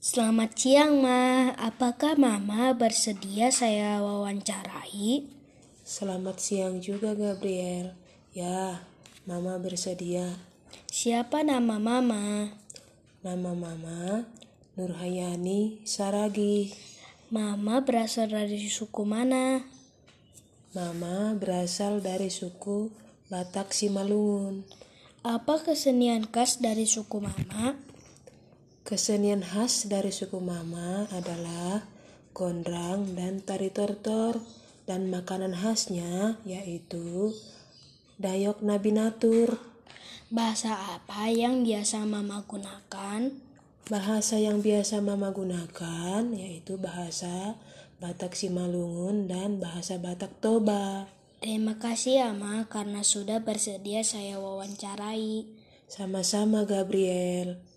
Selamat siang, Ma. Apakah Mama bersedia saya wawancarai? Selamat siang juga, Gabriel. Ya, Mama bersedia. Siapa nama Mama? Nama Mama Nurhayani Saragi. Mama berasal dari suku mana? Mama berasal dari suku Batak Simalungun. Apa kesenian khas dari suku Mama? Kesenian khas dari suku Mama adalah gondrang dan tari tortor dan makanan khasnya yaitu dayok nabi natur. Bahasa apa yang biasa Mama gunakan? Bahasa yang biasa Mama gunakan yaitu bahasa Batak Simalungun dan bahasa Batak Toba. Terima kasih ya, Ma, karena sudah bersedia saya wawancarai. Sama-sama Gabriel.